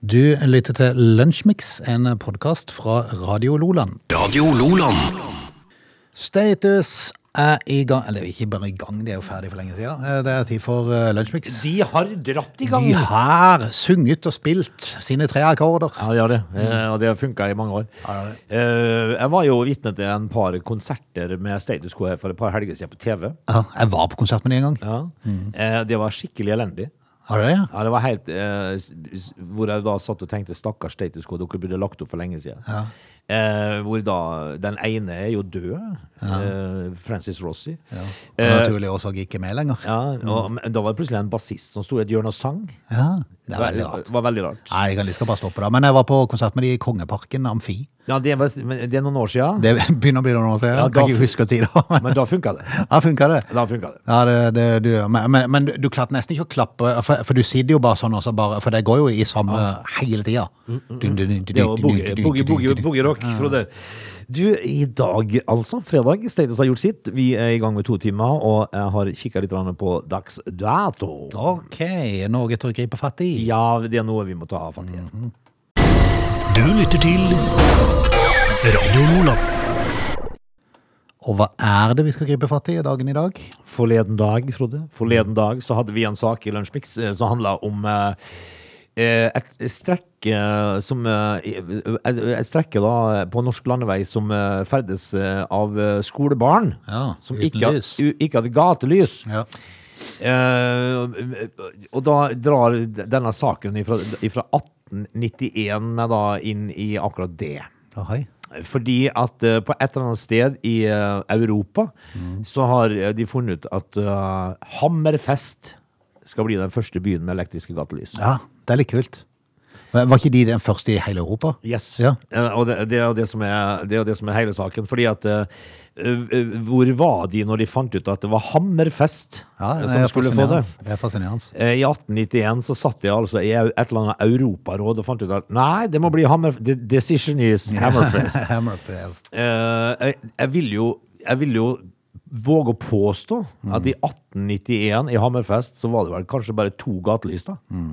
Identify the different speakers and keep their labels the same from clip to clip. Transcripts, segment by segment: Speaker 1: Du lytter til Lunsjmix, en podkast fra Radio Loland.
Speaker 2: Radio Loland.
Speaker 1: Status er i gang Eller ikke bare i gang, de er jo ferdig for lenge siden. Eh, Det er tid for eh, Lunsjmix.
Speaker 3: De har dratt i gang.
Speaker 1: De har sunget og spilt sine tre akkorder.
Speaker 3: Ja, de har det. Eh,
Speaker 1: Mm.
Speaker 3: Og det har funka i mange år. Eh, Jeg var jo vitne til en par konserter med Status Quo her for et par helger siden på TV.
Speaker 1: Ja, Jeg var på konsert med dem en gang.
Speaker 3: Ja. Eh, Det var skikkelig elendig.
Speaker 1: Har du det? ja?
Speaker 3: Ja, det var helt eh, s- s- Hvor jeg da satt og tenkte stakkars Status Quo, dere burde lagt opp for lenge siden. Eh, hvor da den ene er jo død. Eh, Francis Rossi. Ja.
Speaker 1: Av naturlige årsaker ikke med lenger.
Speaker 3: og, men da var det plutselig en bassist som sto i et hjørne og sang.
Speaker 1: Ja, Mm. Det er
Speaker 3: var,
Speaker 1: veldig rart.
Speaker 3: var veldig rart.
Speaker 1: Nei, jeg kan like skal bare stoppe da. Men jeg var på konsert med de i Kongeparken Amfi.
Speaker 3: Ja, det, var, men det er noen år siden,
Speaker 1: Det begynner å bli noen år siden.
Speaker 3: Ja,
Speaker 1: Jeg kan
Speaker 3: da-
Speaker 1: ikke huske tida. men-
Speaker 3: men da funka det.
Speaker 1: Ja, funka det?
Speaker 3: Da funka det.
Speaker 1: Ja, det, det, du, gjør. men, men, men du klarte nesten ikke å klappe, for, for du sitter jo bare sånn også, bare, for det går jo i samme hele tida.
Speaker 3: Mm, Det var boogie- boogie- boogie- boogie rock, Frode. Du, i dag, altså, fredag, Status har gjort sitt. Vi er i gang med to timer, og jeg har kikka litt grann på dags dato.
Speaker 1: Ok, noe til å gripe fatt i.
Speaker 3: Ja, det er noe vi må ta fatt i.
Speaker 2: Du lytter til Radio Loland.
Speaker 1: Og hva er det vi skal gripe fatt i i dagen i dag?
Speaker 3: Forleden dag, Frode, forleden dag så hadde vi en sak i Lunsjmix eh, som handla om eh, eh, et strekk eh, som eh, Et et strekke da på norsk landevei som eh, ferdes eh, av eh, skolebarn.
Speaker 1: Ja,
Speaker 3: som
Speaker 1: uten
Speaker 3: ikke,
Speaker 1: lys.
Speaker 3: u- ikke hadde gatelys.
Speaker 1: Ja.
Speaker 3: Eh, og da drar denne saken ifra, ifra 1891 med da inn i akkurat det.
Speaker 1: Å, hei.
Speaker 3: Fordi at eh, på et eller annet sted i eh, Europa
Speaker 1: Mm.
Speaker 3: så har eh, de funnet ut at eh, Hammerfest skal bli den første byen med elektriske gatelys.
Speaker 1: ja, det er litt kult. Men Var ikke de den første i hele Europa?
Speaker 3: Yes.
Speaker 1: Ja.
Speaker 3: Eh, og det, det, er jo det, som er, det er jo det som er hele saken. Fordi at eh, eh, Hvor var de når de fant ut at det var Hammerfest
Speaker 1: Ja,
Speaker 3: eh, som skulle få det?
Speaker 1: fascinerende. Det er fascinerende.
Speaker 3: Eh, I 1891 så satt jeg altså i et eller annet europaråd og fant ut at nei, det må bli hammer... The decision is Hammerfest.
Speaker 1: Hammerfest.
Speaker 3: Eh, jeg, jeg, vil jo, jeg vil jo våge å påstå
Speaker 1: Mm.
Speaker 3: at i 1891 i Hammerfest så var det vel kanskje bare to gatelys, da.
Speaker 1: Mm.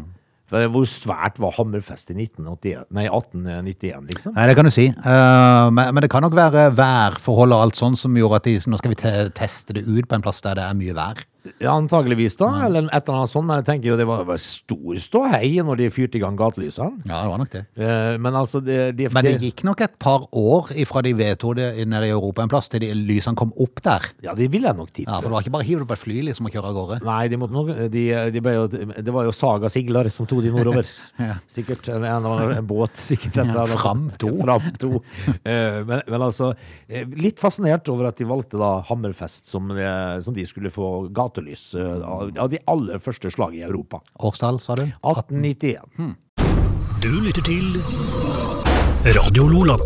Speaker 3: For hvor svært var Hammerfest i 1981, nei, 1891, liksom?
Speaker 1: Nei, det kan du si. Eh, men, men det kan nok være værforhold og alt sånt som gjorde at de, nå skal vi te teste det ut på en plass der det er mye vær.
Speaker 3: Ja, antageligvis, da.
Speaker 1: Mm.
Speaker 3: Eller et eller annet sånt. Men jeg tenker jo det var, var stor ståhei når de fyrte i gang gatelysene.
Speaker 1: Ja, det var nok det.
Speaker 3: Eh, men altså det, det,
Speaker 1: Men det gikk nok et par år ifra de vedtok det nede i Europa en plass, til de lysene kom opp der.
Speaker 3: Ja, det vil jeg nok tippe.
Speaker 1: Ja, For det var ikke bare å hive det på et fly liksom og kjøre av gårde.
Speaker 3: Nei, de måtte nok, de, de ble jo, det var jo Saga Sigler som tok de nordover. Sikkert en, en, en båt. sikkert et eller annet.
Speaker 1: Fram to.
Speaker 3: Fram to. Eh, men, men altså, eh, litt fascinert over at de valgte da Hammerfest som, eh, som de skulle få gatelys eh, av av de aller første slag i Europa.
Speaker 1: Årstall, sa du?
Speaker 3: 1891.
Speaker 2: Du lytter til Radio Loland.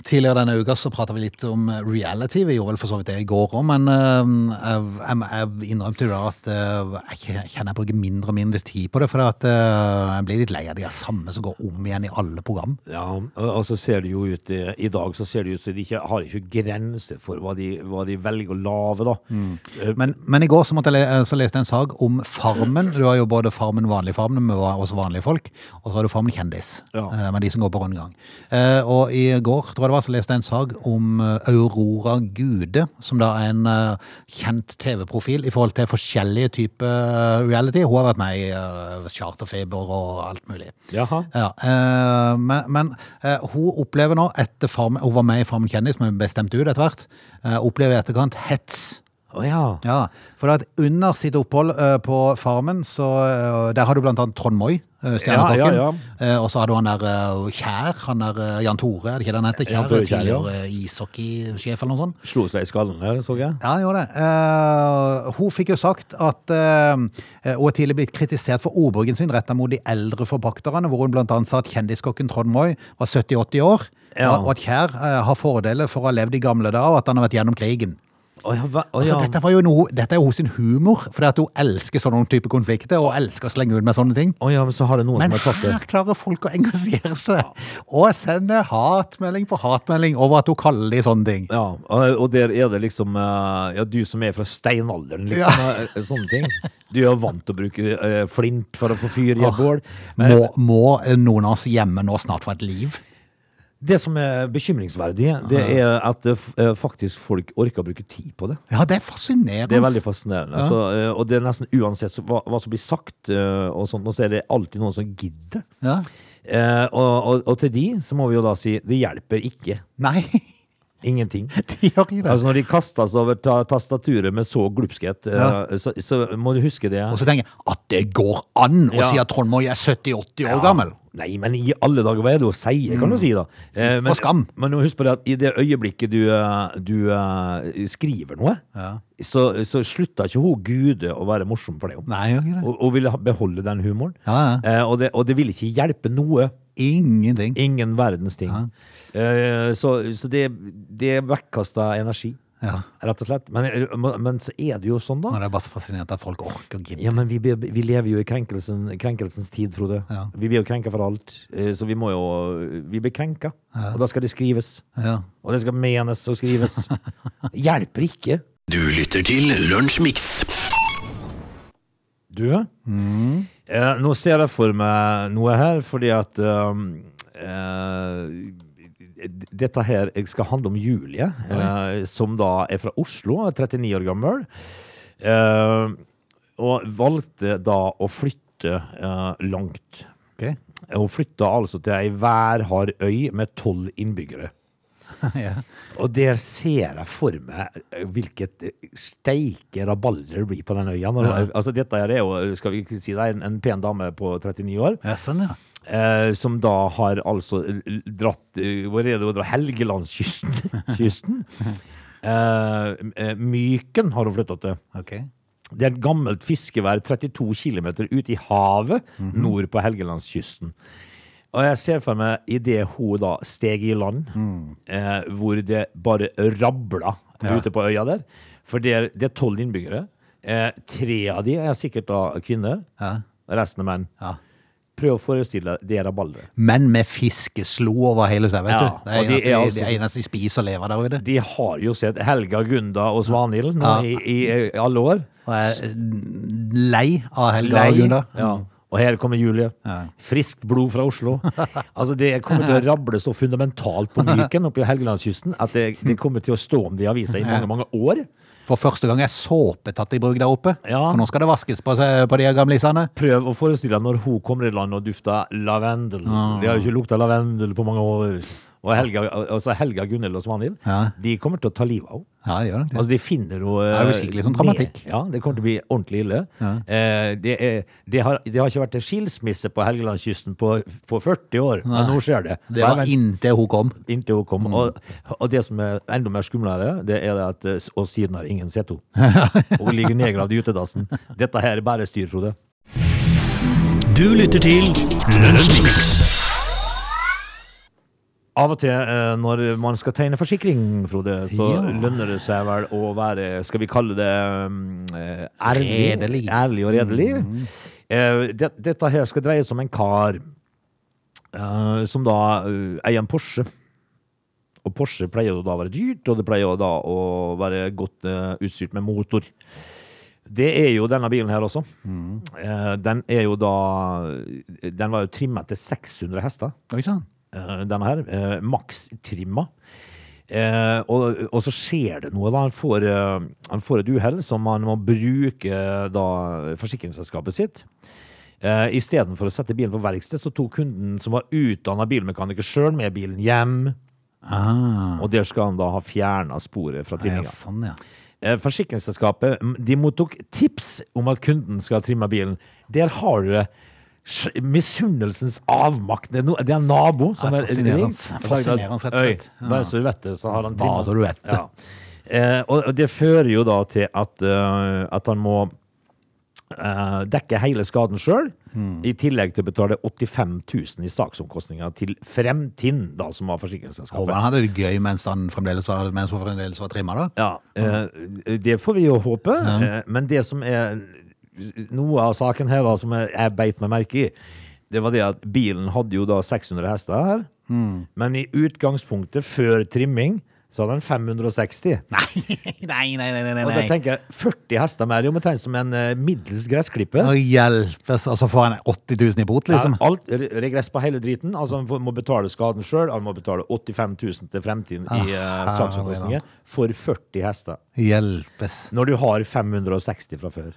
Speaker 1: Tidligere denne uka så prata vi litt om reality. Vi gjorde vel for så vidt det i går òg, men eh, jeg, jeg innrømte jo da at eh, jeg kj- kjenner jeg bruker mindre og mindre tid på det. For at eh, jeg blir litt lei av de samme som går om igjen i alle program.
Speaker 3: Ja, og- og så ser det jo ut i, i dag så ser det ut som de ikke har ikke grenser for hva de, hva de velger å lage, da. Eh,
Speaker 1: Men, men i går så, måtte jeg, le- eh, så leste jeg en sag om Farmen. Du har jo både Farmen vanlig Farmen med oss vanlige folk, og så har du Farmen kjendis,
Speaker 3: Ja.
Speaker 1: eh, med de som går på rundgang. Eh, Og i går tror jeg det var, så leste jeg en sag om eh, Aurora Gude, som da er en eh, kjent TV-profil i forhold til forskjellige typer reality. Hun har vært med i eh, Charterfeber og alt mulig.
Speaker 3: Jaha.
Speaker 1: Ja, eh, men, men eh, hun opplever nå, etter Farmen, hun var med i Farmen kjendis, men bestemt ut etter hvert, eh, opplever i etterkant hets.
Speaker 3: Å ja.
Speaker 1: Ja, for at under sitt opphold eh, på Farmen, så eh, der har du blant annet Trond Moi, eh, stjernekokken.
Speaker 3: Ja, ja,
Speaker 1: Eh, og så har du han der eh, Kjær, han der eh, Jan Tore, er det ikke det han heter?
Speaker 3: Jan Tore Kjær, ja.
Speaker 1: tidligere eh, ishockeysjef eller noe sånt.
Speaker 3: Slo seg i skallen her, så jeg.
Speaker 1: Ja, han gjorde det. Eh, hun fikk jo sagt at eh, hun er tidlig blitt kritisert for ordbruken sin retta mot de eldre forpakterne, hvor hun blant annet sa at kjendiskokken Trond Moi var 70-80 år,
Speaker 3: Ja.
Speaker 1: og at Kjær eh, har fordeler for å ha levd i gamle dager, og at han har vært gjennom krigen.
Speaker 3: Å ja, hva- å
Speaker 1: Altså,
Speaker 3: ja.
Speaker 1: dette, var jo noe, dette er jo hennes humor, fordi at hun elsker sånne type konflikter og elsker å slenge ut med sånne ting.
Speaker 3: Å ja, men så har det noen
Speaker 1: Men
Speaker 3: som har tatt det.
Speaker 1: her klarer folk å engasjere seg og sende hatmelding på hatmelding over at hun kaller de sånne ting.
Speaker 3: Ja, og og der er det liksom eh, Ja, du som er fra steinalderen, liksom. eh, Sånne ting. Du er jo vant til å bruke eh, flint for å få fyr i et bål. Men
Speaker 1: Må, må noen av oss hjemme nå snart få et liv?
Speaker 3: det som er bekymringsverdig, det er at eh, f- eh, faktisk folk orker å bruke tid på det.
Speaker 1: Ja, det er fascinerende.
Speaker 3: Det er veldig fascinerende. Så, eh, og det er nesten uansett så, hva, hva som blir sagt, eh, og sånt, og så er det alltid noen som gidder.
Speaker 1: Ja.
Speaker 3: Eh, og, og, og til de så må vi jo da si det hjelper ikke.
Speaker 1: Nei,
Speaker 3: Ingenting.
Speaker 1: de gjør ikke det.
Speaker 3: Altså Når de kaster seg over ta tastaturet med så glupskhet, eh,
Speaker 1: Ja.
Speaker 3: så, så må du huske det.
Speaker 1: Og så tenker jeg at det går an å
Speaker 3: Ja.
Speaker 1: si at Trond Moi er 70-80 år
Speaker 3: Ja.
Speaker 1: gammel. Mm.
Speaker 3: Nei, men i alle dager, hva er det hun sier, kan du si, da? Eh, men,
Speaker 1: skam.
Speaker 3: Men husk på det at i det øyeblikket du, eh, du eh, skriver noe,
Speaker 1: Ja.
Speaker 3: så, så slutter ikke hun gude å være morsom for deg.
Speaker 1: Nei, gjør ikke det.
Speaker 3: Hun, hun vil ha- beholde den humoren.
Speaker 1: Ja, ja.
Speaker 3: Eh, og, det, og det vil ikke hjelpe noe.
Speaker 1: Ingenting.
Speaker 3: Ingen verdens ting. Eh, så så det, det er bortkasta energi,
Speaker 1: Ja.
Speaker 3: rett og slett. Men, eh, men så er det jo sånn, da.
Speaker 1: Nå er det bare så fascinerende at folk orker å gidde.
Speaker 3: Ja, men vi, be- vi lever jo i krenkelsen, krenkelsens tid, Frode.
Speaker 1: Ja.
Speaker 3: Vi blir jo krenka for alt. eh, Så vi må jo eh, Vi blir krenka. Og da skal det skrives.
Speaker 1: Ja.
Speaker 3: Og det skal menes og skrives. Hjelper ikke.
Speaker 2: Du lytter til Lunsjmix.
Speaker 3: Du, eh, nå ser jeg for meg noe her, fordi at um, eh, dette her skal handle om Julie, eh, som da er fra Oslo, er 39 år gammel. Eh, og valgte da å flytte eh, langt.
Speaker 1: Ok.
Speaker 3: Hun flytta altså til ei værhard øy med tolv innbyggere.
Speaker 1: ja.
Speaker 3: Og der ser jeg for meg eh, hvilket eh, steike rabalder det blir på den øya. Når, altså, dette her er jo skal vi si det, er en, en pen dame på 39 år,
Speaker 1: ja, sånn ja.
Speaker 3: eh, som da har altså eh, dratt eh, Hvor er det hun drar? Helgelandskysten. Kysten. Eh, eh, myken har hun flytta til.
Speaker 1: Ok.
Speaker 3: Det er et gammelt fiskevær 32 km ute i havet
Speaker 1: Mhm.
Speaker 3: nord på Helgelandskysten. Og jeg ser for meg idet hun da steg i land,
Speaker 1: Mm.
Speaker 3: eh, hvor det bare rabla ute på øya der. For det er, det er tolv innbyggere. Eh, tre av de er sikkert da kvinner.
Speaker 1: Ja.
Speaker 3: Resten er menn.
Speaker 1: Ja.
Speaker 3: Prøv å forestille deg det rabalderet.
Speaker 1: Men med fiskeslo over hele seg, vet
Speaker 3: Ja,
Speaker 1: du. Det er
Speaker 3: og de
Speaker 1: eneste,
Speaker 3: er
Speaker 1: de,
Speaker 3: altså-
Speaker 1: det er eneste de spiser og lever der ute.
Speaker 3: De har jo sett Helga, Gunda og Svanhild nå
Speaker 1: Ja.
Speaker 3: i, i, i alle år.
Speaker 1: Og jeg er lei av Helga
Speaker 3: Lei.
Speaker 1: og Gunnar.
Speaker 3: Ja. Og her kommer Julie. Friskt blod fra Oslo. Altså Det kommer til å rable så fundamentalt på Myken oppe i Helgelandskysten at det, det kommer til å stå om det i avisa i mange mange år.
Speaker 1: For første gang er såpe tatt i bruk der oppe.
Speaker 3: Ja.
Speaker 1: For nå skal det vaskes på, seg, på de gamlisene.
Speaker 3: Prøv å forestille deg når hun kommer i land og dufter lavendel. De har jo ikke lukta lavendel på mange år. Og Helga, altså Helga Gunhild og Svanhild
Speaker 1: Ja.
Speaker 3: de kommer til å ta livet av henne.
Speaker 1: Ja, det gjør nok det.
Speaker 3: Altså, de finner jo
Speaker 1: Ja, det blir skikkelig sånn dramatikk.
Speaker 3: Ja, det kommer til å bli ordentlig ille. Eh, det, er, det, har, det har ikke vært en skilsmisse på Helgelandskysten på, på 40 år, men nå skjer det.
Speaker 1: Det var Mm. inntil hun kom.
Speaker 3: Inntil hun kom. Og, og det som er enda mer skumlere, det er det at eh, Og siden har ingen sett henne. Hun ligger nedgravd i utedassen. Dette her er bare styr, Frode.
Speaker 2: Du lytter til Lunsjmix.
Speaker 3: Av og til eh, når man skal tegne forsikring, Frode, så
Speaker 1: Ja.
Speaker 3: lønner det seg vel å være, skal vi kalle det, mm, eh, ærlig,
Speaker 1: Redelig. Mm.
Speaker 3: ærlig og redelig. Eh, det, dette her skal dreie seg om en kar eh, som da eh, eier en Porsche. Og Porsche pleier jo da å være dyrt, og det pleier jo da å være godt eh, utstyrt med motor. Det er jo denne bilen her også.
Speaker 1: Mm.
Speaker 3: Eh, den er jo da Den var jo trimmet til 600 hester
Speaker 1: Oi sann.
Speaker 3: eh, denne her, eh, makstrimma. Eh, og, og så skjer det noe. da Han får, eh, han får et uhell som han må bruke eh, da, forsikringsselskapet sitt. Eh, Istedenfor å sette bilen på verksted, så tok kunden som var utdanna bilmekaniker sjøl, med bilen hjem. Og der skal han da ha fjerna sporet fra
Speaker 1: Ah. Ja,
Speaker 3: trimminga.
Speaker 1: sånn, ja.
Speaker 3: Eh, Forsikringsselskapet m- de mottok tips om at kunden skal ha trimma bilen. Der har du det. Sj- Misunnelsens avmakt. Det er, no, det er en nabo som
Speaker 1: Ja,
Speaker 3: er
Speaker 1: fascinerende.
Speaker 3: ring. Så har jeg
Speaker 1: Fascinerende, rett og
Speaker 3: «Øy,
Speaker 1: slett. Ja.
Speaker 3: Bare så du vet det, så har han
Speaker 1: Bare
Speaker 3: trimmet».
Speaker 1: så du vet det.
Speaker 3: Ja. Eh, og og det fører jo da til at, eh, at han må eh, dekke hele skaden sjøl.
Speaker 1: Hmm.
Speaker 3: I tillegg til å betale 85 000 i saksomkostninger til Fremtind, da, som var forsikringsselskapet.
Speaker 1: Håper han hadde det gøy mens han fremdeles var, mens hun fremdeles var trimma, da.
Speaker 3: Ja, eh, det får vi jo håpe. eh, Men det som er noe av saken her da, som jeg- jeg beit meg merke i, det var det at bilen hadde jo da 600 hester her. Men i utgangspunktet, før trimming, så hadde den 560.
Speaker 1: Nei, nei, nei, nei.
Speaker 3: Og da tenker jeg 40 hester mer, jo, men tenk som en eh, middels gressklipper.
Speaker 1: Å hjelpes, og så får han 80 000 i bot, liksom.
Speaker 3: Ja, alt, re- regress på hele driten. Altså Han får- må betale skaden sjøl. Han må betale 85 000 til fremtiden i uh,
Speaker 1: herre
Speaker 3: saksomkostninger for 40 hester.
Speaker 1: Hjelpes.
Speaker 3: Når du har 560 fra før.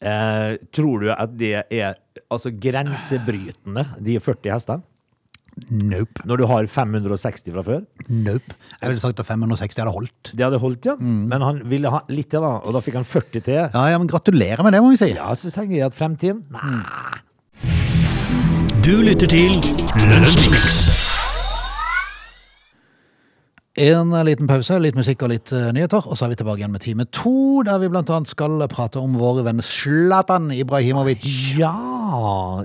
Speaker 3: Eh, tror du at det er altså, grensebrytende, de 40 hestene?
Speaker 1: Nope.
Speaker 3: Når du har 560 fra før?
Speaker 1: Nope. Jeg ville sagt at 560 hadde holdt.
Speaker 3: Det hadde holdt, ja. Men han ville ha litt til, da. Og da fikk han 40 til.
Speaker 1: Ja, ja, men gratulerer med det, må vi si.
Speaker 3: Ja, så tenker jeg at fremtiden Nei.
Speaker 2: Du lytter til Lunsjmix.
Speaker 1: En liten pause, litt musikk og litt eh, nyheter, og så er vi tilbake igjen med time to, der vi blant annet skal prate om vår venn Zlatan Ibrahimovic.
Speaker 3: Ja!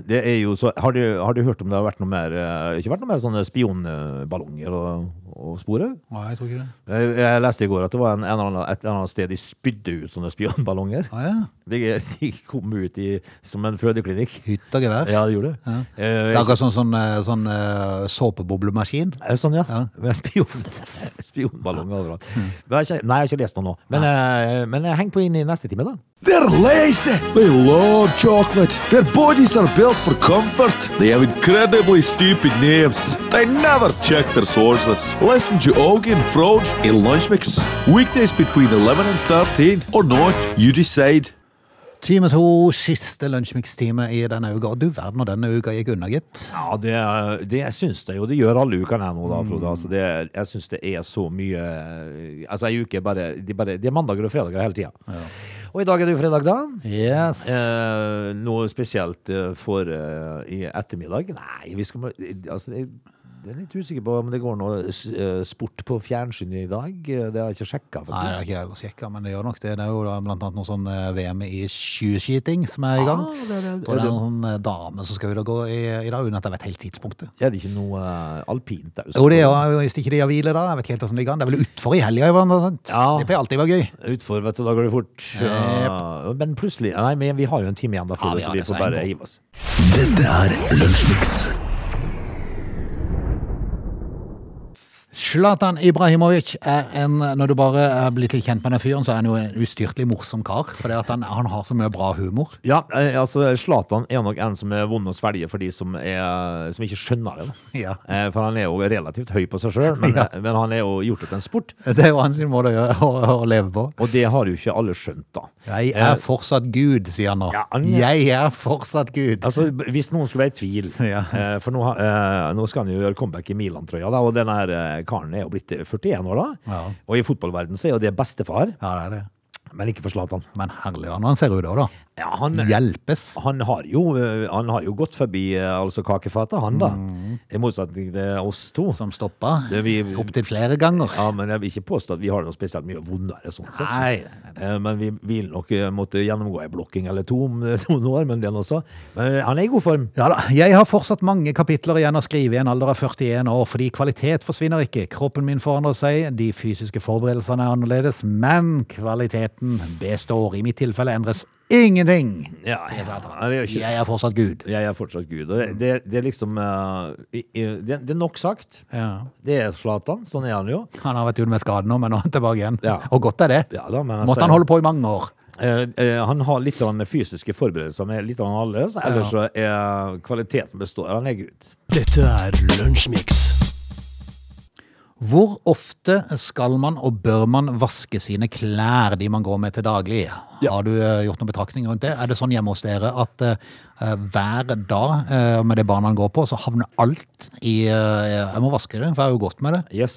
Speaker 3: Det er jo så Har du, har du hørt om det har vært noe mer eh, Ikke vært noe mer sånne spionballonger og, og sporet?
Speaker 1: Nei, jeg tror ikke det.
Speaker 3: Jeg, jeg leste i går at det var en, en eller annen, et eller annet sted de spydde ut sånne spionballonger.
Speaker 1: Ah, ja.
Speaker 3: De, de kom ut i, som en fødeklinikk.
Speaker 1: Hytt og gevær.
Speaker 3: Ja, det gjorde det. Eh,
Speaker 1: Det er akkurat sånn, sånn, eh, sånn eh, såpeboblemaskin.
Speaker 3: er det sånn, ja. Mm. Med spion, spionballonger overalt. Men jeg har ikke- Nei, jeg har ikke lest noe nå. Men, eh, men heng på inn i neste time, da.
Speaker 4: They're lazy. They love chocolate. Their bodies are built for comfort. They have incredibly stupid names. They never check their sources. Listen to Augie and Frode in Lunch Mix. Weekdays between 11 and 13 or not, you decide.
Speaker 1: Time to, siste lunsjmikstime i denne uka. Og du verden, og denne uka gikk unna, gitt.
Speaker 3: Ja, det, det jeg syns det jo. Det gjør alle ukene her nå, da, Frode. Altså, det, jeg syns det er så mye Altså, ei uke er bare Det bare, de er mandager og fredager hele tida. Og i dag er det jo fredag, da.
Speaker 1: Yes.
Speaker 3: Eh, noe spesielt eh, for eh, i ettermiddag? Nei, vi skal må- altså, jeg, jeg er litt usikker på om det går noe s- eh, sport på fjernsynet i dag. Eh, Det har jeg ikke sjekka.
Speaker 1: Nei, det har
Speaker 3: faktisk.
Speaker 1: ikke jeg også sjekka, men det gjør nok det. Det er jo da blant annet noe sånn eh, VM i skiskyting som er i gang.
Speaker 3: Ah, det er det.
Speaker 1: Og det er noen eh, dame som skal ut og gå i, i dag, uten at jeg vet helt tidspunktet.
Speaker 3: Er det ikke noe eh, alpint der?
Speaker 1: Jo, det er jo hvis ikke de har hvile, da. Jeg vet ikke helt hvordan det ligger an. Det er vel utfor i helga, blant annet.
Speaker 3: Ja.
Speaker 1: Det pleier alltid å være gøy.
Speaker 3: Utfor, vet du. Da går det fort. Ja, men plutselig Nei, men vi har jo en time igjen, da, Frode,
Speaker 1: vi har
Speaker 3: så vi
Speaker 1: det, så
Speaker 3: får
Speaker 1: heng
Speaker 3: bare
Speaker 1: på.
Speaker 3: hive oss.
Speaker 2: Dette er Lunsjmix.
Speaker 1: Zlatan Ibrahimovic er en Når du bare eh, blir litt kjent med den fyren, så er han jo en ustyrtelig morsom kar. For han, han har så mye bra humor.
Speaker 3: Ja, eh, altså Zlatan er nok en som er vond å svelge for de som, er, som ikke skjønner det. da.
Speaker 1: Ja.
Speaker 3: Eh, For han er jo relativt høy på seg sjøl, men, eh, men han er jo gjort det til en sport.
Speaker 1: Det er jo hans måte å, gjøre- å, å leve på.
Speaker 3: Og det har jo ikke alle skjønt, da.
Speaker 1: Jeg er fortsatt Gud, sier han nå.
Speaker 3: Ja, han-
Speaker 1: Jeg er fortsatt Gud.
Speaker 3: Altså, b- Hvis noen skulle være i tvil
Speaker 1: Ja.
Speaker 3: eh, For nå, har- eh, nå skal han jo gjøre comeback i Milan-trøya, da, og den her eh, karen er jo blitt 41 år, da.
Speaker 1: Ja.
Speaker 3: Og i fotballverden så er jo det bestefar,
Speaker 1: Ja, det er det.
Speaker 3: men ikke for Zlatan.
Speaker 1: Men herlig da, når han ser ut da, da.
Speaker 3: Ja, han,
Speaker 1: Hjelpes.
Speaker 3: han, har jo, eh, han har jo gått forbi eh, altså kakefatet, han, da. I motsetning til oss to.
Speaker 1: Mm. Som stoppa.
Speaker 3: Det vi-
Speaker 1: Opptil flere ganger.
Speaker 3: Ja, men jeg vil ikke påstå at vi har noe spesielt mye vondere sånn sett.
Speaker 1: Nei.
Speaker 3: Eh, Men vi vil nok eh, måtte gjennomgå ei blokking eller to om eh, noen år, men den også. Men eh, han er i god form.
Speaker 1: Ja da, jeg har fortsatt mange kapitler igjen å skrive i en alder av 41 år, fordi kvalitet forsvinner ikke. Kroppen min forandrer seg, de fysiske forberedelsene er annerledes, men kvaliteten består. I mitt tilfelle endres ingenting.
Speaker 3: Ja, det er jo ikke
Speaker 1: Jeg er fortsatt Gud.
Speaker 3: Jeg er fortsatt Gud. Og det, det, det er liksom eh, i- i- det, det er nok sagt.
Speaker 1: Ja.
Speaker 3: Det er Zlatan. Sånn er han jo.
Speaker 1: Han har vært ute med skade nå, men nå er han tilbake igjen.
Speaker 3: Ja.
Speaker 1: Og godt er det.
Speaker 3: Ja da, men altså-
Speaker 1: Måtte han holde på i mange år.
Speaker 3: Eh, eh, han har litt av den fysiske forberedelser med litt av den annerledes. Ellers så er kvaliteten består. Han er Gud.
Speaker 2: Dette er Lunsjmix.
Speaker 1: Hvor ofte skal man og bør man vaske sine klær, de man går med til daglig? Har du eh, gjort noen betraktninger rundt det? Er det sånn hjemme hos dere at eh, eh, hver dag eh, med det barna går på, så havner alt i eh, Jeg må vaske det, for jeg har jo gått med det.
Speaker 3: Yes.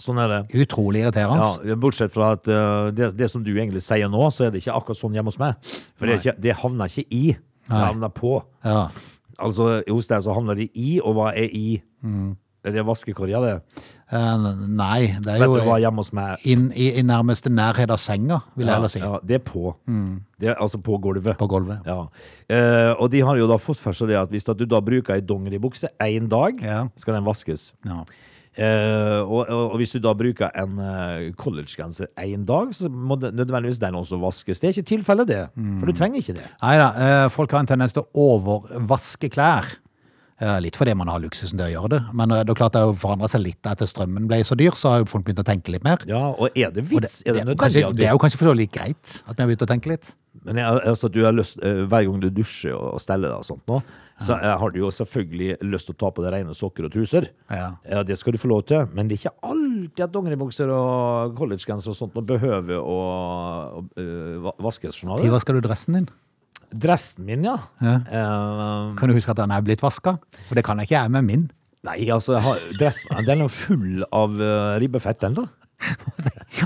Speaker 3: Sånn er det.
Speaker 1: Utrolig irriterende.
Speaker 3: Ja, Bortsett fra at eh, det, det som du egentlig sier nå, så er det ikke akkurat sånn hjemme hos meg. For det, er ikke, det havner ikke i. Det havner på.
Speaker 1: Ja.
Speaker 3: Altså, hos deg så havner det i, og hva er i? Er det vaskekår? Ja, det.
Speaker 1: Eh, nei, det er
Speaker 3: Vet du hva,
Speaker 1: jo
Speaker 3: hjemme hos meg
Speaker 1: inn i, i nærmeste nærhet av senga, vil jeg
Speaker 3: ja,
Speaker 1: heller si.
Speaker 3: ja, Det er på. Det er altså på gulvet.
Speaker 1: På gulvet.
Speaker 3: Ja. Eh, og de har jo da fått for seg det at hvis at du da bruker ei dongeribukse én dag,
Speaker 1: Ja.
Speaker 3: skal den vaskes.
Speaker 1: Ja.
Speaker 3: Eh, og, og og hvis du da bruker en eh, collegegenser én dag, så må det, nødvendigvis den også vaskes. Det er ikke tilfellet, det. For du trenger ikke det.
Speaker 1: Nei da, eh, folk har en tendens til å overvaske klær. Eh, Litt fordi man har luksusen til å gjøre det, men eh, det er klart det har jo forandret seg litt etter strømmen ble så dyr, så har jo folk begynt å tenke litt mer.
Speaker 3: Ja, Og er det
Speaker 1: Og
Speaker 3: vits? er
Speaker 1: er
Speaker 3: det
Speaker 1: jo
Speaker 3: nødvendig?
Speaker 1: kanskje,
Speaker 3: at du-
Speaker 1: det er jo kanskje for så vidt greit at vi har begynt å tenke litt.
Speaker 3: Men jeg, altså, du har lyst, eh, hver gang du dusjer og, og steller deg og sånt nå, så eh, har du jo selvfølgelig lyst til å ta på deg rene sokker og truser.
Speaker 1: Ja.
Speaker 3: det skal du få lov til, men det er ikke alltid at dongeribukser og collegegenser og sånt nå behøver å, å eh, va- vaskes. skjønner du?
Speaker 1: Når vasker du dressen din?
Speaker 3: Dressen min, ja. Eh,
Speaker 1: Kan du huske at den er blitt vaska? For det kan ikke jeg med min.
Speaker 3: nei, altså, jeg har, dressen den er jo full av eh, ribbefett, den da.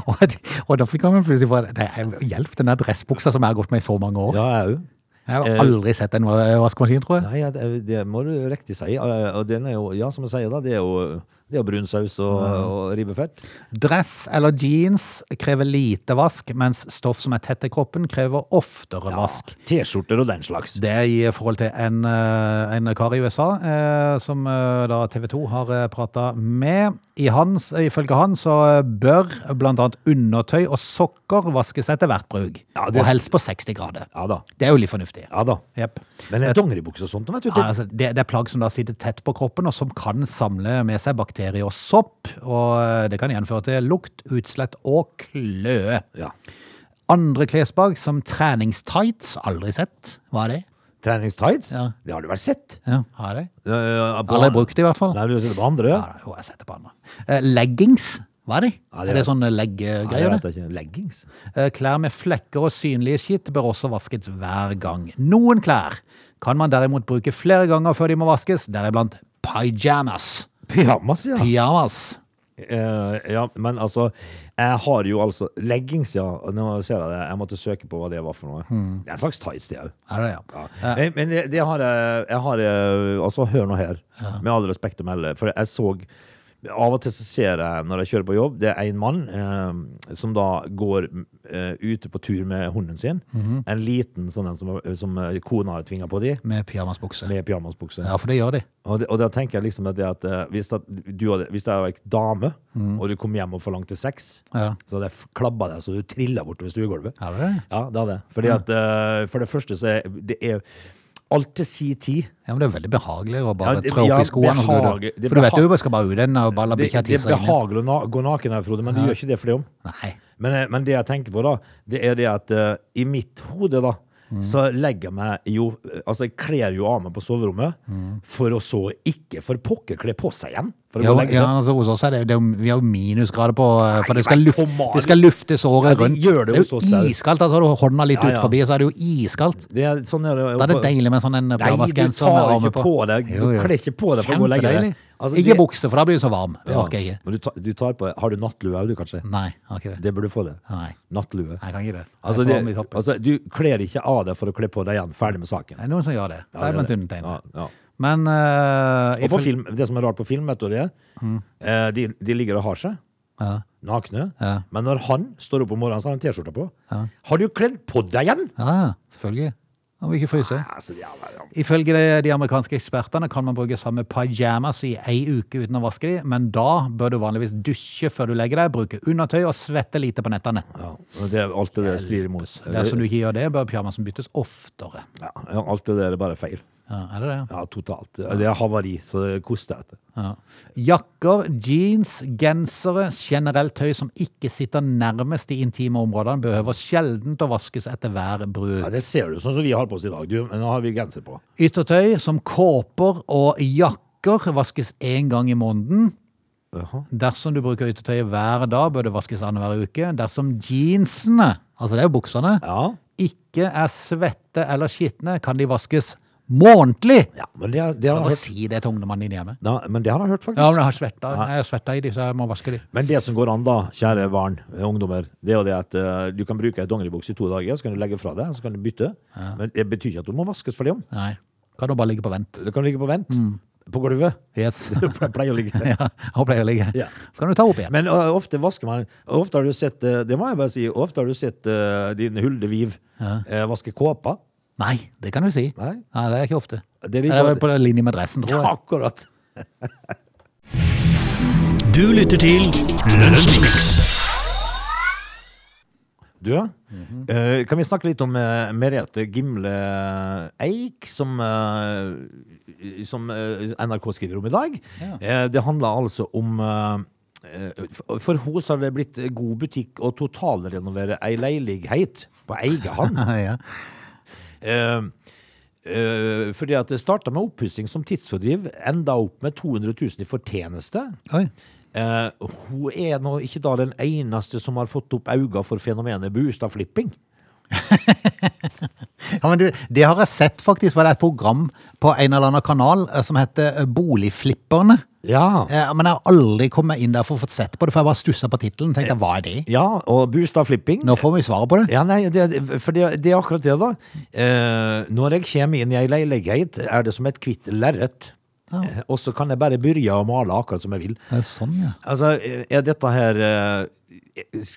Speaker 1: Og, og da fikk jeg plutselig for det er hjelp, den der dressbuksa som jeg har gått med i så mange år.
Speaker 3: Ja, jeg òg.
Speaker 1: Jeg har aldri sett en vaskemaskin, tror jeg.
Speaker 3: Nei, ja, det, det må du riktig si. Eh, Og den er jo, ja, som jeg sier da, det er jo, det er jo brun saus og, og ribbefett.
Speaker 1: Dress eller jeans krever lite vask, mens stoff som er tett i kroppen krever oftere vask.
Speaker 3: T-skjorter og den slags.
Speaker 1: Det er i forhold til en, eh, en kar i USA eh, som eh, da TV 2 har prata med. I hans, ifølge han så bør bl.a. undertøy og sokker vaskes etter hvert bruk.
Speaker 3: Ja, det-
Speaker 1: Og helst på 60 grader.
Speaker 3: Ja da.
Speaker 1: Det er jo litt fornuftig.
Speaker 3: Ja da.
Speaker 1: Jepp.
Speaker 3: Men det er dongeribukse og sånt, vet du.
Speaker 1: Ja,
Speaker 3: Det,
Speaker 1: altså, det, det er plagg som da sitter tett på kroppen, og som kan samle med seg bakterier og sopp. Og eh, det kan igjen føre til lukt, utslett og kløe.
Speaker 3: ja.
Speaker 1: Andre klesplagg, som treningstights, aldri sett. Hva er det?
Speaker 3: Treningstights,
Speaker 1: Ja.
Speaker 3: det har du vel sett?
Speaker 1: Ja, har jeg det?
Speaker 3: Eh, på-
Speaker 1: Aldri brukt det, i hvert fall.
Speaker 3: Nei, du har sett det på andre?
Speaker 1: Ja, da, jo, jeg setter på andre. Eh, Leggings, hva er det?
Speaker 3: Ja, det
Speaker 1: er det
Speaker 3: vet-
Speaker 1: sånne
Speaker 3: Nei, det
Speaker 1: legggreier?
Speaker 3: vet
Speaker 1: det?
Speaker 3: jeg ikke. Leggings?
Speaker 1: Eh, Klær med flekker og synlige skitt bør også vaskes hver gang. Noen klær kan man derimot bruke flere ganger før de må vaskes, deriblant pyjamas.
Speaker 3: Pyjamas, ja.
Speaker 1: Pyjamas.
Speaker 3: Eh, ja. Men altså, jeg har jo altså Leggings, ja. Nå ser jeg det. Jeg måtte søke på hva det var for noe. Det er en slags tights, det òg.
Speaker 1: Er det, ja.
Speaker 3: Ja. Eh, Men det, det har jeg, jeg har eh, Altså, hør nå her, med all respekt å melde. For jeg så Av og til så ser jeg, når jeg kjører på jobb, det er en mann eh, som da går eh, ute på tur med hunden sin. En liten sånn en som, som eh, kona har tvinga på de,
Speaker 1: Med pyjamasbukse.
Speaker 3: med pyjamasbukse.
Speaker 1: Ja, for det gjør de.
Speaker 3: Og, det- og da tenker jeg liksom at det at eh, hvis, at du hadde, hvis jeg var en dame, og du kom hjem og forlangte sex,
Speaker 1: Ja.
Speaker 3: så hadde jeg f- klabba deg så du trilla bortover stuegulvet.
Speaker 1: Er det det?
Speaker 3: Ja, det hadde jeg. Fordi at eh, for det første så er det er alt til si tid.
Speaker 1: Ja, men det er veldig behagelig å bare
Speaker 3: Ja, det-
Speaker 1: trå opp
Speaker 3: ja,
Speaker 1: i skoene. og så går du-
Speaker 3: behagelig. Det
Speaker 1: For du vet
Speaker 3: behag-
Speaker 1: jo, du skal bare ut den og bare la
Speaker 3: Det,
Speaker 1: bikkja tisse
Speaker 3: det er
Speaker 1: inn. igjen.
Speaker 3: behagelig å na gå naken her, Frode, men du gjør ikke det for det om.
Speaker 1: Nei.
Speaker 3: Men, eh, men det jeg tenker på, da, det er det at eh, i mitt hode, da,
Speaker 1: Mm.
Speaker 3: så legger jeg meg jo Altså, jeg kler jo av meg på soverommet, for å så ikke for pokker kle på seg igjen. For å gå
Speaker 1: Mm. Jo,
Speaker 3: og legge seg.
Speaker 1: ja, altså, hos oss er det, det er, jo- vi har jo minusgrader på eh, For det skal,
Speaker 3: men
Speaker 1: luft,
Speaker 3: kom an.
Speaker 1: det skal luftes året
Speaker 3: Ja, det
Speaker 1: rundt.
Speaker 3: gjør det hos
Speaker 1: jo
Speaker 3: oss her.
Speaker 1: iskaldt. Altså, har du hånda litt
Speaker 3: Ja, ja.
Speaker 1: ut forbi, så er det jo iskaldt.
Speaker 3: Det er, sånn er det,
Speaker 1: Da er det deilig med sånn en
Speaker 3: Nei, du tar
Speaker 1: pyjamasgenser med
Speaker 3: ikke
Speaker 1: armer
Speaker 3: på,
Speaker 1: på.
Speaker 3: deg. Du
Speaker 1: Jo, jo.
Speaker 3: kler ikke på deg for å gå og legge
Speaker 1: Kjempedeilig.
Speaker 3: deg. Altså,
Speaker 1: Ikke bukse, for da blir du så varm. Det
Speaker 3: Ja.
Speaker 1: orker jeg ikke. Mm.
Speaker 3: Men du, tar, du tar på Har du nattlue òg, du, kanskje?
Speaker 1: Nei, jeg har ikke det.
Speaker 3: Det burde du få, det.
Speaker 1: Nei.
Speaker 3: Nattlue.
Speaker 1: Nei, jeg kan ikke det. Jeg er
Speaker 3: Altså,
Speaker 1: så
Speaker 3: det,
Speaker 1: varm i toppen.
Speaker 3: altså, du kler ikke av deg for å kle på deg igjen. Ferdig med saken.
Speaker 1: Det er noen som gjør det. Det er
Speaker 3: det er
Speaker 1: blant
Speaker 3: det.
Speaker 1: unntegnene.
Speaker 3: Ja, ja.
Speaker 1: Men eh,
Speaker 3: Og på
Speaker 1: ifølge-
Speaker 3: film, det som er rart på film, vet du hva det er? Eh, De, de ligger og har seg.
Speaker 1: Mm. Ja.
Speaker 3: Nakne.
Speaker 1: Ja.
Speaker 3: Men når han står opp om morgenen, så har han T-skjorta på. Har du kledd på deg igjen?!
Speaker 1: Ja, ja, selvfølgelig. Da må vi ikke fryse.
Speaker 3: Altså, ja, ja.
Speaker 1: Ifølge de- de amerikanske ekspertene kan man bruke samme pyjamas i ei uke uten å vaske de, men da bør du vanligvis dusje før du legger deg, bruke undertøy og svette lite på nettene.
Speaker 3: ja. Og Det, er alt Altså, det der strir imot.
Speaker 1: Dersom du ikke gjør det, bør pyjamasen byttes oftere.
Speaker 3: Ja, alt det der er bare feil.
Speaker 1: Ja, er det det?
Speaker 3: Ja, totalt. Det er havari, så det koster jeg etter.
Speaker 1: Ja. Jakker, jeans, gensere, generelt tøy som ikke sitter nærmest de intime områdene, behøver sjelden å vaskes etter hver bruk.
Speaker 3: Ja, det ser du sånn som vi har på oss i dag. Du, men nå har vi genser på.
Speaker 1: Yttertøy som kåper og jakker vaskes én gang i måneden. Dersom du bruker yttertøyet hver dag, bør det vaskes annenhver uke. Dersom jeansene, altså det er jo buksene,
Speaker 3: Ja.
Speaker 1: ikke er svette eller skitne, kan de vaskes månedlig.
Speaker 3: ja, men det, det har
Speaker 1: Bare
Speaker 3: jeg hørt.
Speaker 1: si det til ungdommene dine hjemme.
Speaker 3: Ja, men det har jeg hørt, faktisk.
Speaker 1: Ja, men jeg har svetta. Jeg har svetta i de, så jeg må vaske de.
Speaker 3: Men det som går an, da, kjære barn, eh, ungdommer, det er jo det at eh, du kan bruke ei dongeribukse i to dager, så kan du legge fra deg, så kan du bytte. Men det betyr ikke at du må vaskes for det om.
Speaker 1: Nei. Kan jo bare ligge på vent.
Speaker 3: Det kan ligge på vent. på gulvet.
Speaker 1: Yes.
Speaker 3: Jeg pleier å ligge der.
Speaker 1: Ja, han pleier å ligge.
Speaker 3: Ja.
Speaker 1: Så kan du ta opp igjen.
Speaker 3: Men ø, ofte vasker man Ofte har du sett, ø, det må jeg bare si, ofte har du sett ø, din Hulde Viv ø, vaske kåpa.
Speaker 1: Nei, det kan du si.
Speaker 3: Nei.
Speaker 1: det er ikke ofte.
Speaker 3: Det er
Speaker 1: Det
Speaker 3: like-
Speaker 1: er vel på linje med dressen, tror jeg.
Speaker 3: Akkurat.
Speaker 2: Du lytter til Lunsjmix.
Speaker 3: Du, ja. Eh, kan vi snakke litt om eh, Merete Gimle Eik, som, eh, som eh, NRK skriver om i dag? Eh, det handler altså om eh, eh, for- For henne så har det blitt god butikk å totalrenovere ei leilighet på Eigehamn.
Speaker 1: Ja.
Speaker 3: Eh, eh, fordi at det starta med oppussing som tidsfordriv, enda opp med 200 000 i fortjeneste.
Speaker 1: Oi.
Speaker 3: Eh, hun er nå ikke da den eneste som har fått opp øynene for fenomenet Bustadflipping.
Speaker 1: Ja, men du, det har jeg sett faktisk, var det et program på en eller annen kanal eh, som heter eh, Boligflipperne.
Speaker 3: Ja.
Speaker 1: Eh, Men jeg har aldri kommet inn der for å få sett på det, for jeg bare stussa på tittelen. Tenkte jeg, hva er det?
Speaker 3: ja, og Bustadflipping
Speaker 1: Nå får vi svaret på det.
Speaker 3: Ja, nei, det, for det, det er akkurat det, da. Eh, når jeg kommer inn i ei leilighet, er det som et hvitt lerret. Eh, og så kan jeg bare begynne å male akkurat som jeg vil.
Speaker 1: Det er sånn, ja.
Speaker 3: Altså, er dette her eh,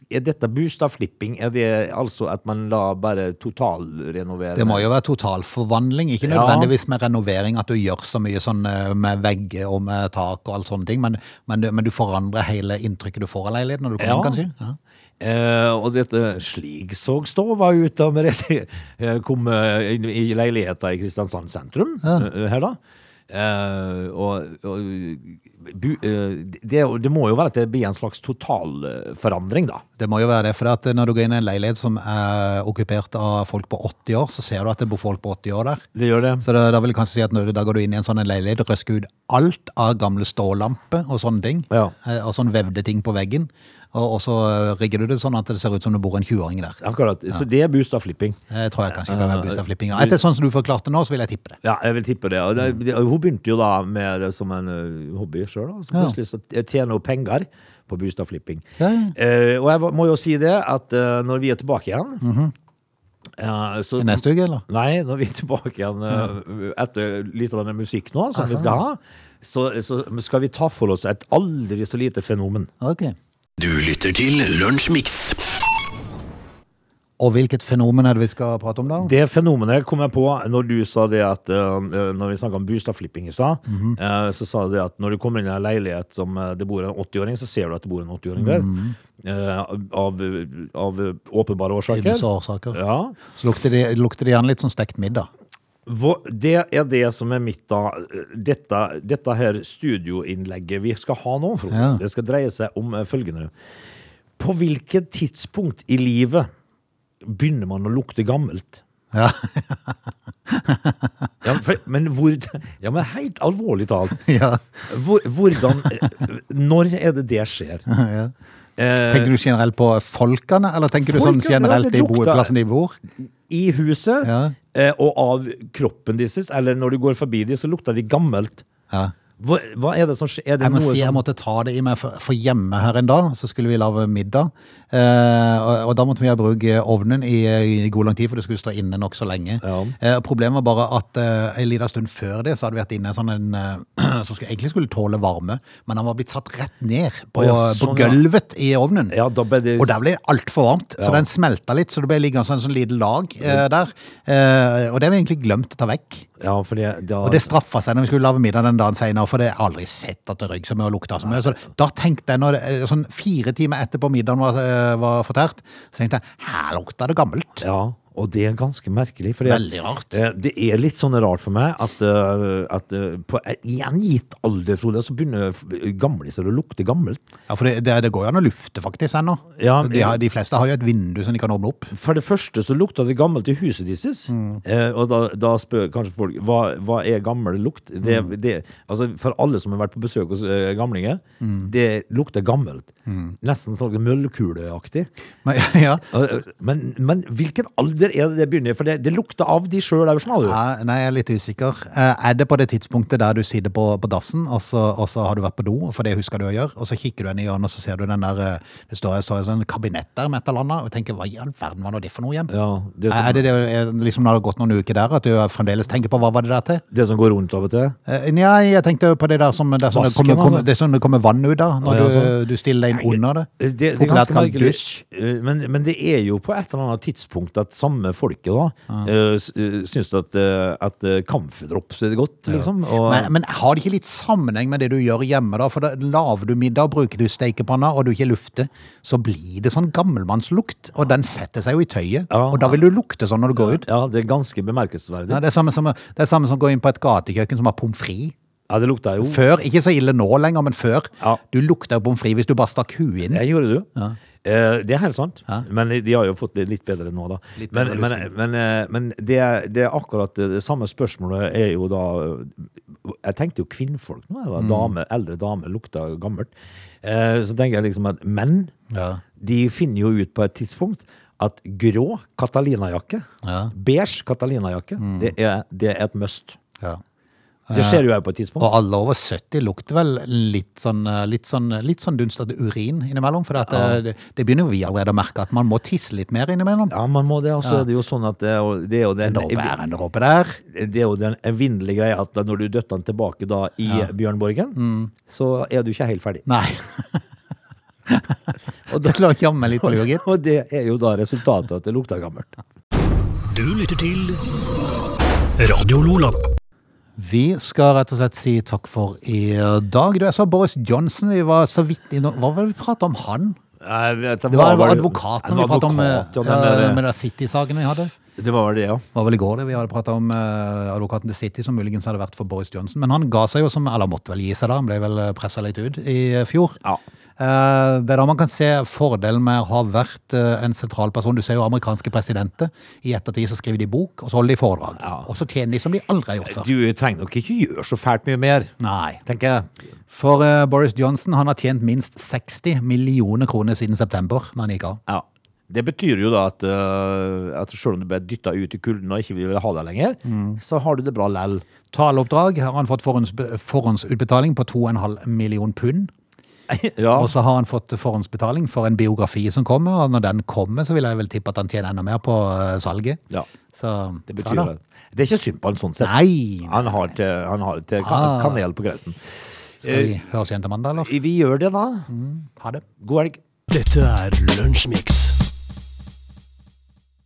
Speaker 3: Er dette Bustadflipping? Er det altså at man lar bare totalrenovere?
Speaker 1: Det må jo være totalforvandling, ikke
Speaker 3: Ja.
Speaker 1: nødvendigvis med renovering, at du gjør så mye sånn eh, med vegger og med tak og alt sånne ting, men, men, du- men du forandrer hele inntrykket du får av leiligheten når du kommer
Speaker 3: Ja.
Speaker 1: inn, kanskje? Ja.
Speaker 3: Eh, og dette slik såg stova ut da vi rett- eh, kom eh, inn i leiligheta i Kristiansand sentrum eh, her, da. Eh, og og bu, eh, det, det må jo være at det blir en slags totalforandring, da.
Speaker 1: Det må jo være det, for at eh, når du går inn i en leilighet som er okkupert av folk på 80 år, så ser du at det bor folk på 80 år der.
Speaker 3: Det gjør det.
Speaker 1: Så da, da vil jeg kanskje si at når du, da går du inn i en sånn en leilighet, røsker ut alt av gamle stålamper og sånne ting,
Speaker 3: Ja.
Speaker 1: eh, og sånn vevde ting på veggen, og, og så eh, rigger du det sånn at det ser ut som det bor en 20-åring der.
Speaker 3: Akkurat. Så det er Bustadflipping.
Speaker 1: Det tror jeg kanskje kan
Speaker 3: Ah,
Speaker 1: være bustadflipping. Etter sånn som du forklarte nå, så vil jeg tippe det.
Speaker 3: Ja, jeg vil tippe det. Og det,
Speaker 1: Mm.
Speaker 3: det hun begynte jo da med det som en ø, hobby sjøl. Så
Speaker 1: Ja.
Speaker 3: plutselig så tjener hun penger på bustadflipping.
Speaker 1: Ja, ja. Mm-hmm.
Speaker 3: Eh, og jeg må jo si det at eh, når vi er tilbake igjen eh, så,
Speaker 1: I Neste uke, eller?
Speaker 3: Nei, når vi er tilbake igjen eh, etter litt av denne musikk nå, som vi skal ha, så, så skal vi ta for oss et aldri så lite fenomen.
Speaker 1: Ok.
Speaker 2: Du lytter til Lunsjmix.
Speaker 1: Og hvilket fenomen er det vi skal prate om da?
Speaker 3: Det fenomenet kom jeg på når du sa det at eh, Når vi snakket om bustadflipping i stad, eh, så sa du det at når du kommer inn i en leilighet som eh, det bor en 80-åring, så ser du at det bor en 80-åring der. eh, av, av åpenbare årsaker.
Speaker 1: Ymse årsaker.
Speaker 3: Ja.
Speaker 1: Så lukter det, lukter det gjerne litt sånn stekt middag.
Speaker 3: Hvor, det er det som er mitt da Dette, dette her studioinnlegget vi skal ha nå, Frode,
Speaker 1: Ja.
Speaker 3: det skal dreie seg om eh, følgende. På hvilket tidspunkt i livet begynner man å lukte gammelt?
Speaker 1: Ja.
Speaker 3: Ja, for, men hvor, ja, men helt alvorlig talt.
Speaker 1: ja.
Speaker 3: Hvor, hvordan eh, Når er det det skjer?
Speaker 1: ja. Tenker du generelt på folkene, eller tenker du sånn
Speaker 3: Eh, Folkene, ja,
Speaker 1: generelt
Speaker 3: det
Speaker 1: i bo-
Speaker 3: lukter-
Speaker 1: plassen de bor?
Speaker 3: I huset
Speaker 1: Ja.
Speaker 3: eh, og av kroppen deres, eller når du går forbi dem, så lukter de gammelt.
Speaker 1: Ja.
Speaker 3: Hva, hva er det som skjer? Er det
Speaker 1: Jeg må
Speaker 3: noe
Speaker 1: si jeg
Speaker 3: som
Speaker 1: måtte ta det i meg, for, for hjemme her en dag så skulle vi lage middag. Eh, og, og da måtte vi ha bruke ovnen i, i god lang tid, for det skulle stå inne nokså lenge.
Speaker 3: Ja.
Speaker 1: Eh, problemet var bare at eh, en liten stund før det så hadde vi hatt inne sånn en eh, som skulle, egentlig skulle tåle varme, men han var blitt satt rett ned på,
Speaker 3: Å ja, sånn,
Speaker 1: på
Speaker 3: ja.
Speaker 1: gulvet i ovnen.
Speaker 3: Ja, da ble det
Speaker 1: Og der ble det altfor varmt, så
Speaker 3: Ja.
Speaker 1: den smelta litt, så det ble liggende sånn, sånn lite lag eh, der. Eh, og det har vi egentlig glemt å ta vekk.
Speaker 3: Ja, for det, da,
Speaker 1: Og det straffa seg når vi skulle lage middag den dagen senere, for det har jeg aldri sett at det røyk så mye og lukta så mye. Så da tenkte jeg, når det, sånn fire timer etterpå middagen var, eh, var fortært, så tenkte jeg her lukta det gammelt.
Speaker 3: Ja, og det er ganske merkelig. For
Speaker 1: Veldig rart.
Speaker 3: Eh, Det er litt sånn rart for meg at, eh, at eh, på, i en gitt alder, Frode, så begynner f- gamliser å lukte gammelt.
Speaker 1: Ja, for det, det, det går jo an å lufte faktisk ennå.
Speaker 3: Ja,
Speaker 1: de, har- de fleste har jo et vindu som de kan åpne opp.
Speaker 3: For det første så lukta det gammelt i huset deres. Eh, og da, da spør kanskje folk hva, hva er gammel lukt? Det,
Speaker 1: Mm.
Speaker 3: det, altså for alle som har vært på besøk hos eh, gamlinger,
Speaker 1: Mm.
Speaker 3: det lukter gammelt. Nesten sånn møllkuleaktig.
Speaker 1: Men, ja.
Speaker 3: Eh, Men, men hvilken alder alder er det det begynner? For det, det lukter av de sjøl òg, skjønner du.
Speaker 1: Ja, nei, jeg er litt usikker. Eh, Er det på det tidspunktet der du sitter på, på dassen, og så, og så har du vært på do, for det husker du å gjøre, og så kikker du inn i hjørnet, og så ser du den der eh, Det står så et sånt kabinett der med et eller annet, og tenker hva i all verden var nå det for noe igjen?
Speaker 3: Ja, det,
Speaker 1: Er
Speaker 3: som,
Speaker 1: det, det er liksom når det har gått noen uker der, at du fremdeles tenker på hva var det der til?
Speaker 3: det som går rundt av og til.
Speaker 1: Eh, Nei, jeg tenkte jo på det der som det er sånn det
Speaker 3: Vasken,
Speaker 1: kommer, kommer,
Speaker 3: altså.
Speaker 1: det er sånn det kommer vann ut av,
Speaker 3: Ja,
Speaker 1: når
Speaker 3: ja,
Speaker 1: du,
Speaker 3: sånn.
Speaker 1: du stiller deg inn under det.
Speaker 3: Det, det er
Speaker 1: Populært
Speaker 3: ganske
Speaker 1: kalt
Speaker 3: merkelig.
Speaker 1: dusj.
Speaker 3: Eh, Men, men det er jo på et eller annet tidspunkt at samme folket da
Speaker 1: Ah.
Speaker 3: eh, s- eh, syns at, eh, at eh, kamferdrops er godt, liksom. Og,
Speaker 1: Men, men har det ikke litt sammenheng med det du gjør hjemme, da? For da lager du middag, bruker du stekepanna, og du ikke lufter, så blir det sånn gammelmannslukt, og den setter seg jo i tøyet.
Speaker 3: Ja.
Speaker 1: og da vil du lukte sånn når du går ut.
Speaker 3: ja, det er ganske bemerkelsesverdig.
Speaker 1: Ja, det, er samme som, det er samme som å gå inn på et gatekjøkken som har pommes frites.
Speaker 3: Ja, det lukta jo
Speaker 1: Før, ikke så ille nå lenger, men før.
Speaker 3: Ja.
Speaker 1: Du lukta jo pommes frites hvis du bare stakk huet inn.
Speaker 3: Jeg gjorde det, du. Eh, Det er helt sant, men de har jo fått det litt bedre nå, da.
Speaker 1: Litt
Speaker 3: Men,
Speaker 1: bedre
Speaker 3: men, men, eh, men det, er- det er akkurat det det samme spørsmålet er jo da Jeg tenkte jo kvinnfolk nå.
Speaker 1: Mm.
Speaker 3: Da. Dame, eldre damer lukta gammelt. Eh, Så tenker jeg liksom at menn,
Speaker 1: Ja.
Speaker 3: de finner jo ut på et tidspunkt at grå Catalina-jakke,
Speaker 1: Ja. Mm.
Speaker 3: beige Catalina-jakke, det, er- det er et must.
Speaker 1: Ja.
Speaker 3: Det skjer jo her på et tidspunkt.
Speaker 1: Og alle over 70 lukter vel litt sånn, eh, litt sånn, litt sånn dunstete urin innimellom. For at, eh, det, det begynner jo vi allerede å merke, at man må tisse litt mer innimellom.
Speaker 3: Ja, man må det. Og så er det jo sånn at det er jo- det er jo den
Speaker 1: Nå bærer en dråpe der.
Speaker 3: det er jo den evinnelige greia at da når du døtter den tilbake da i Bjørnborgen,
Speaker 1: Mm.
Speaker 3: så er du ikke helt ferdig.
Speaker 1: Nei.
Speaker 3: Og
Speaker 1: Det
Speaker 3: da,
Speaker 1: lå jammen litt på lur, gitt.
Speaker 3: og det er jo da resultatet at det lukter gammelt.
Speaker 2: Du lytter til Radio Lola.
Speaker 1: Vi skal rett og slett si takk for i dag. Du, jeg sa Boris Johnson, vi var så vidt innom Hva var det vi pratet om han? Det var, var advokaten vi pratet om, eh, eh, med de City-sakene vi hadde.
Speaker 3: det var vel det, ja.
Speaker 1: Det var vel i går det vi hadde pratet om eh, advokaten til City, som muligens hadde vært for Boris Johnson. Men han ga seg jo som Eller måtte vel gi seg, da. Han ble vel pressa litt ut i eh, fjor.
Speaker 3: Ja.
Speaker 1: Eh, Det er da man kan se fordelen med å ha vært eh, en sentral person. Du ser jo amerikanske presidenter. I ettertid så skriver de bok, og så holder de foredrag. Og så tjener de som de aldri har gjort før.
Speaker 3: Du trenger nok ikke gjøre så fælt mye mer,
Speaker 1: Nei.
Speaker 3: tenker jeg.
Speaker 1: For eh, Boris Johnson han har tjent minst 60 millioner kroner siden september, når han gikk av.
Speaker 3: Ja. Det betyr jo da at, eh, at selv om du ble dytta ut i kulden og ikke ville ha deg lenger,
Speaker 1: Mm.
Speaker 3: så har du det bra lell.
Speaker 1: Taleoppdrag har han fått forhånds, forhåndsutbetaling på 2,5 million pund.
Speaker 3: ja.
Speaker 1: Og så har han fått forhåndsbetaling for en biografi som kommer, og når den kommer, så vil jeg vel tippe at han tjener enda mer på eh, salget.
Speaker 3: ja.
Speaker 1: Så
Speaker 3: Det
Speaker 1: ja
Speaker 3: betyr
Speaker 1: da.
Speaker 3: det. Det er ikke synd på han sånn sett.
Speaker 1: Nei!
Speaker 3: Han har til, han har til kan-
Speaker 1: Ah.
Speaker 3: kanel på grauten.
Speaker 1: Skal vi høres igjen til mandag, eller?
Speaker 3: Vi gjør det, da.
Speaker 1: Mm. Ha det.
Speaker 3: God helg.
Speaker 2: Dette er Lunsjmix.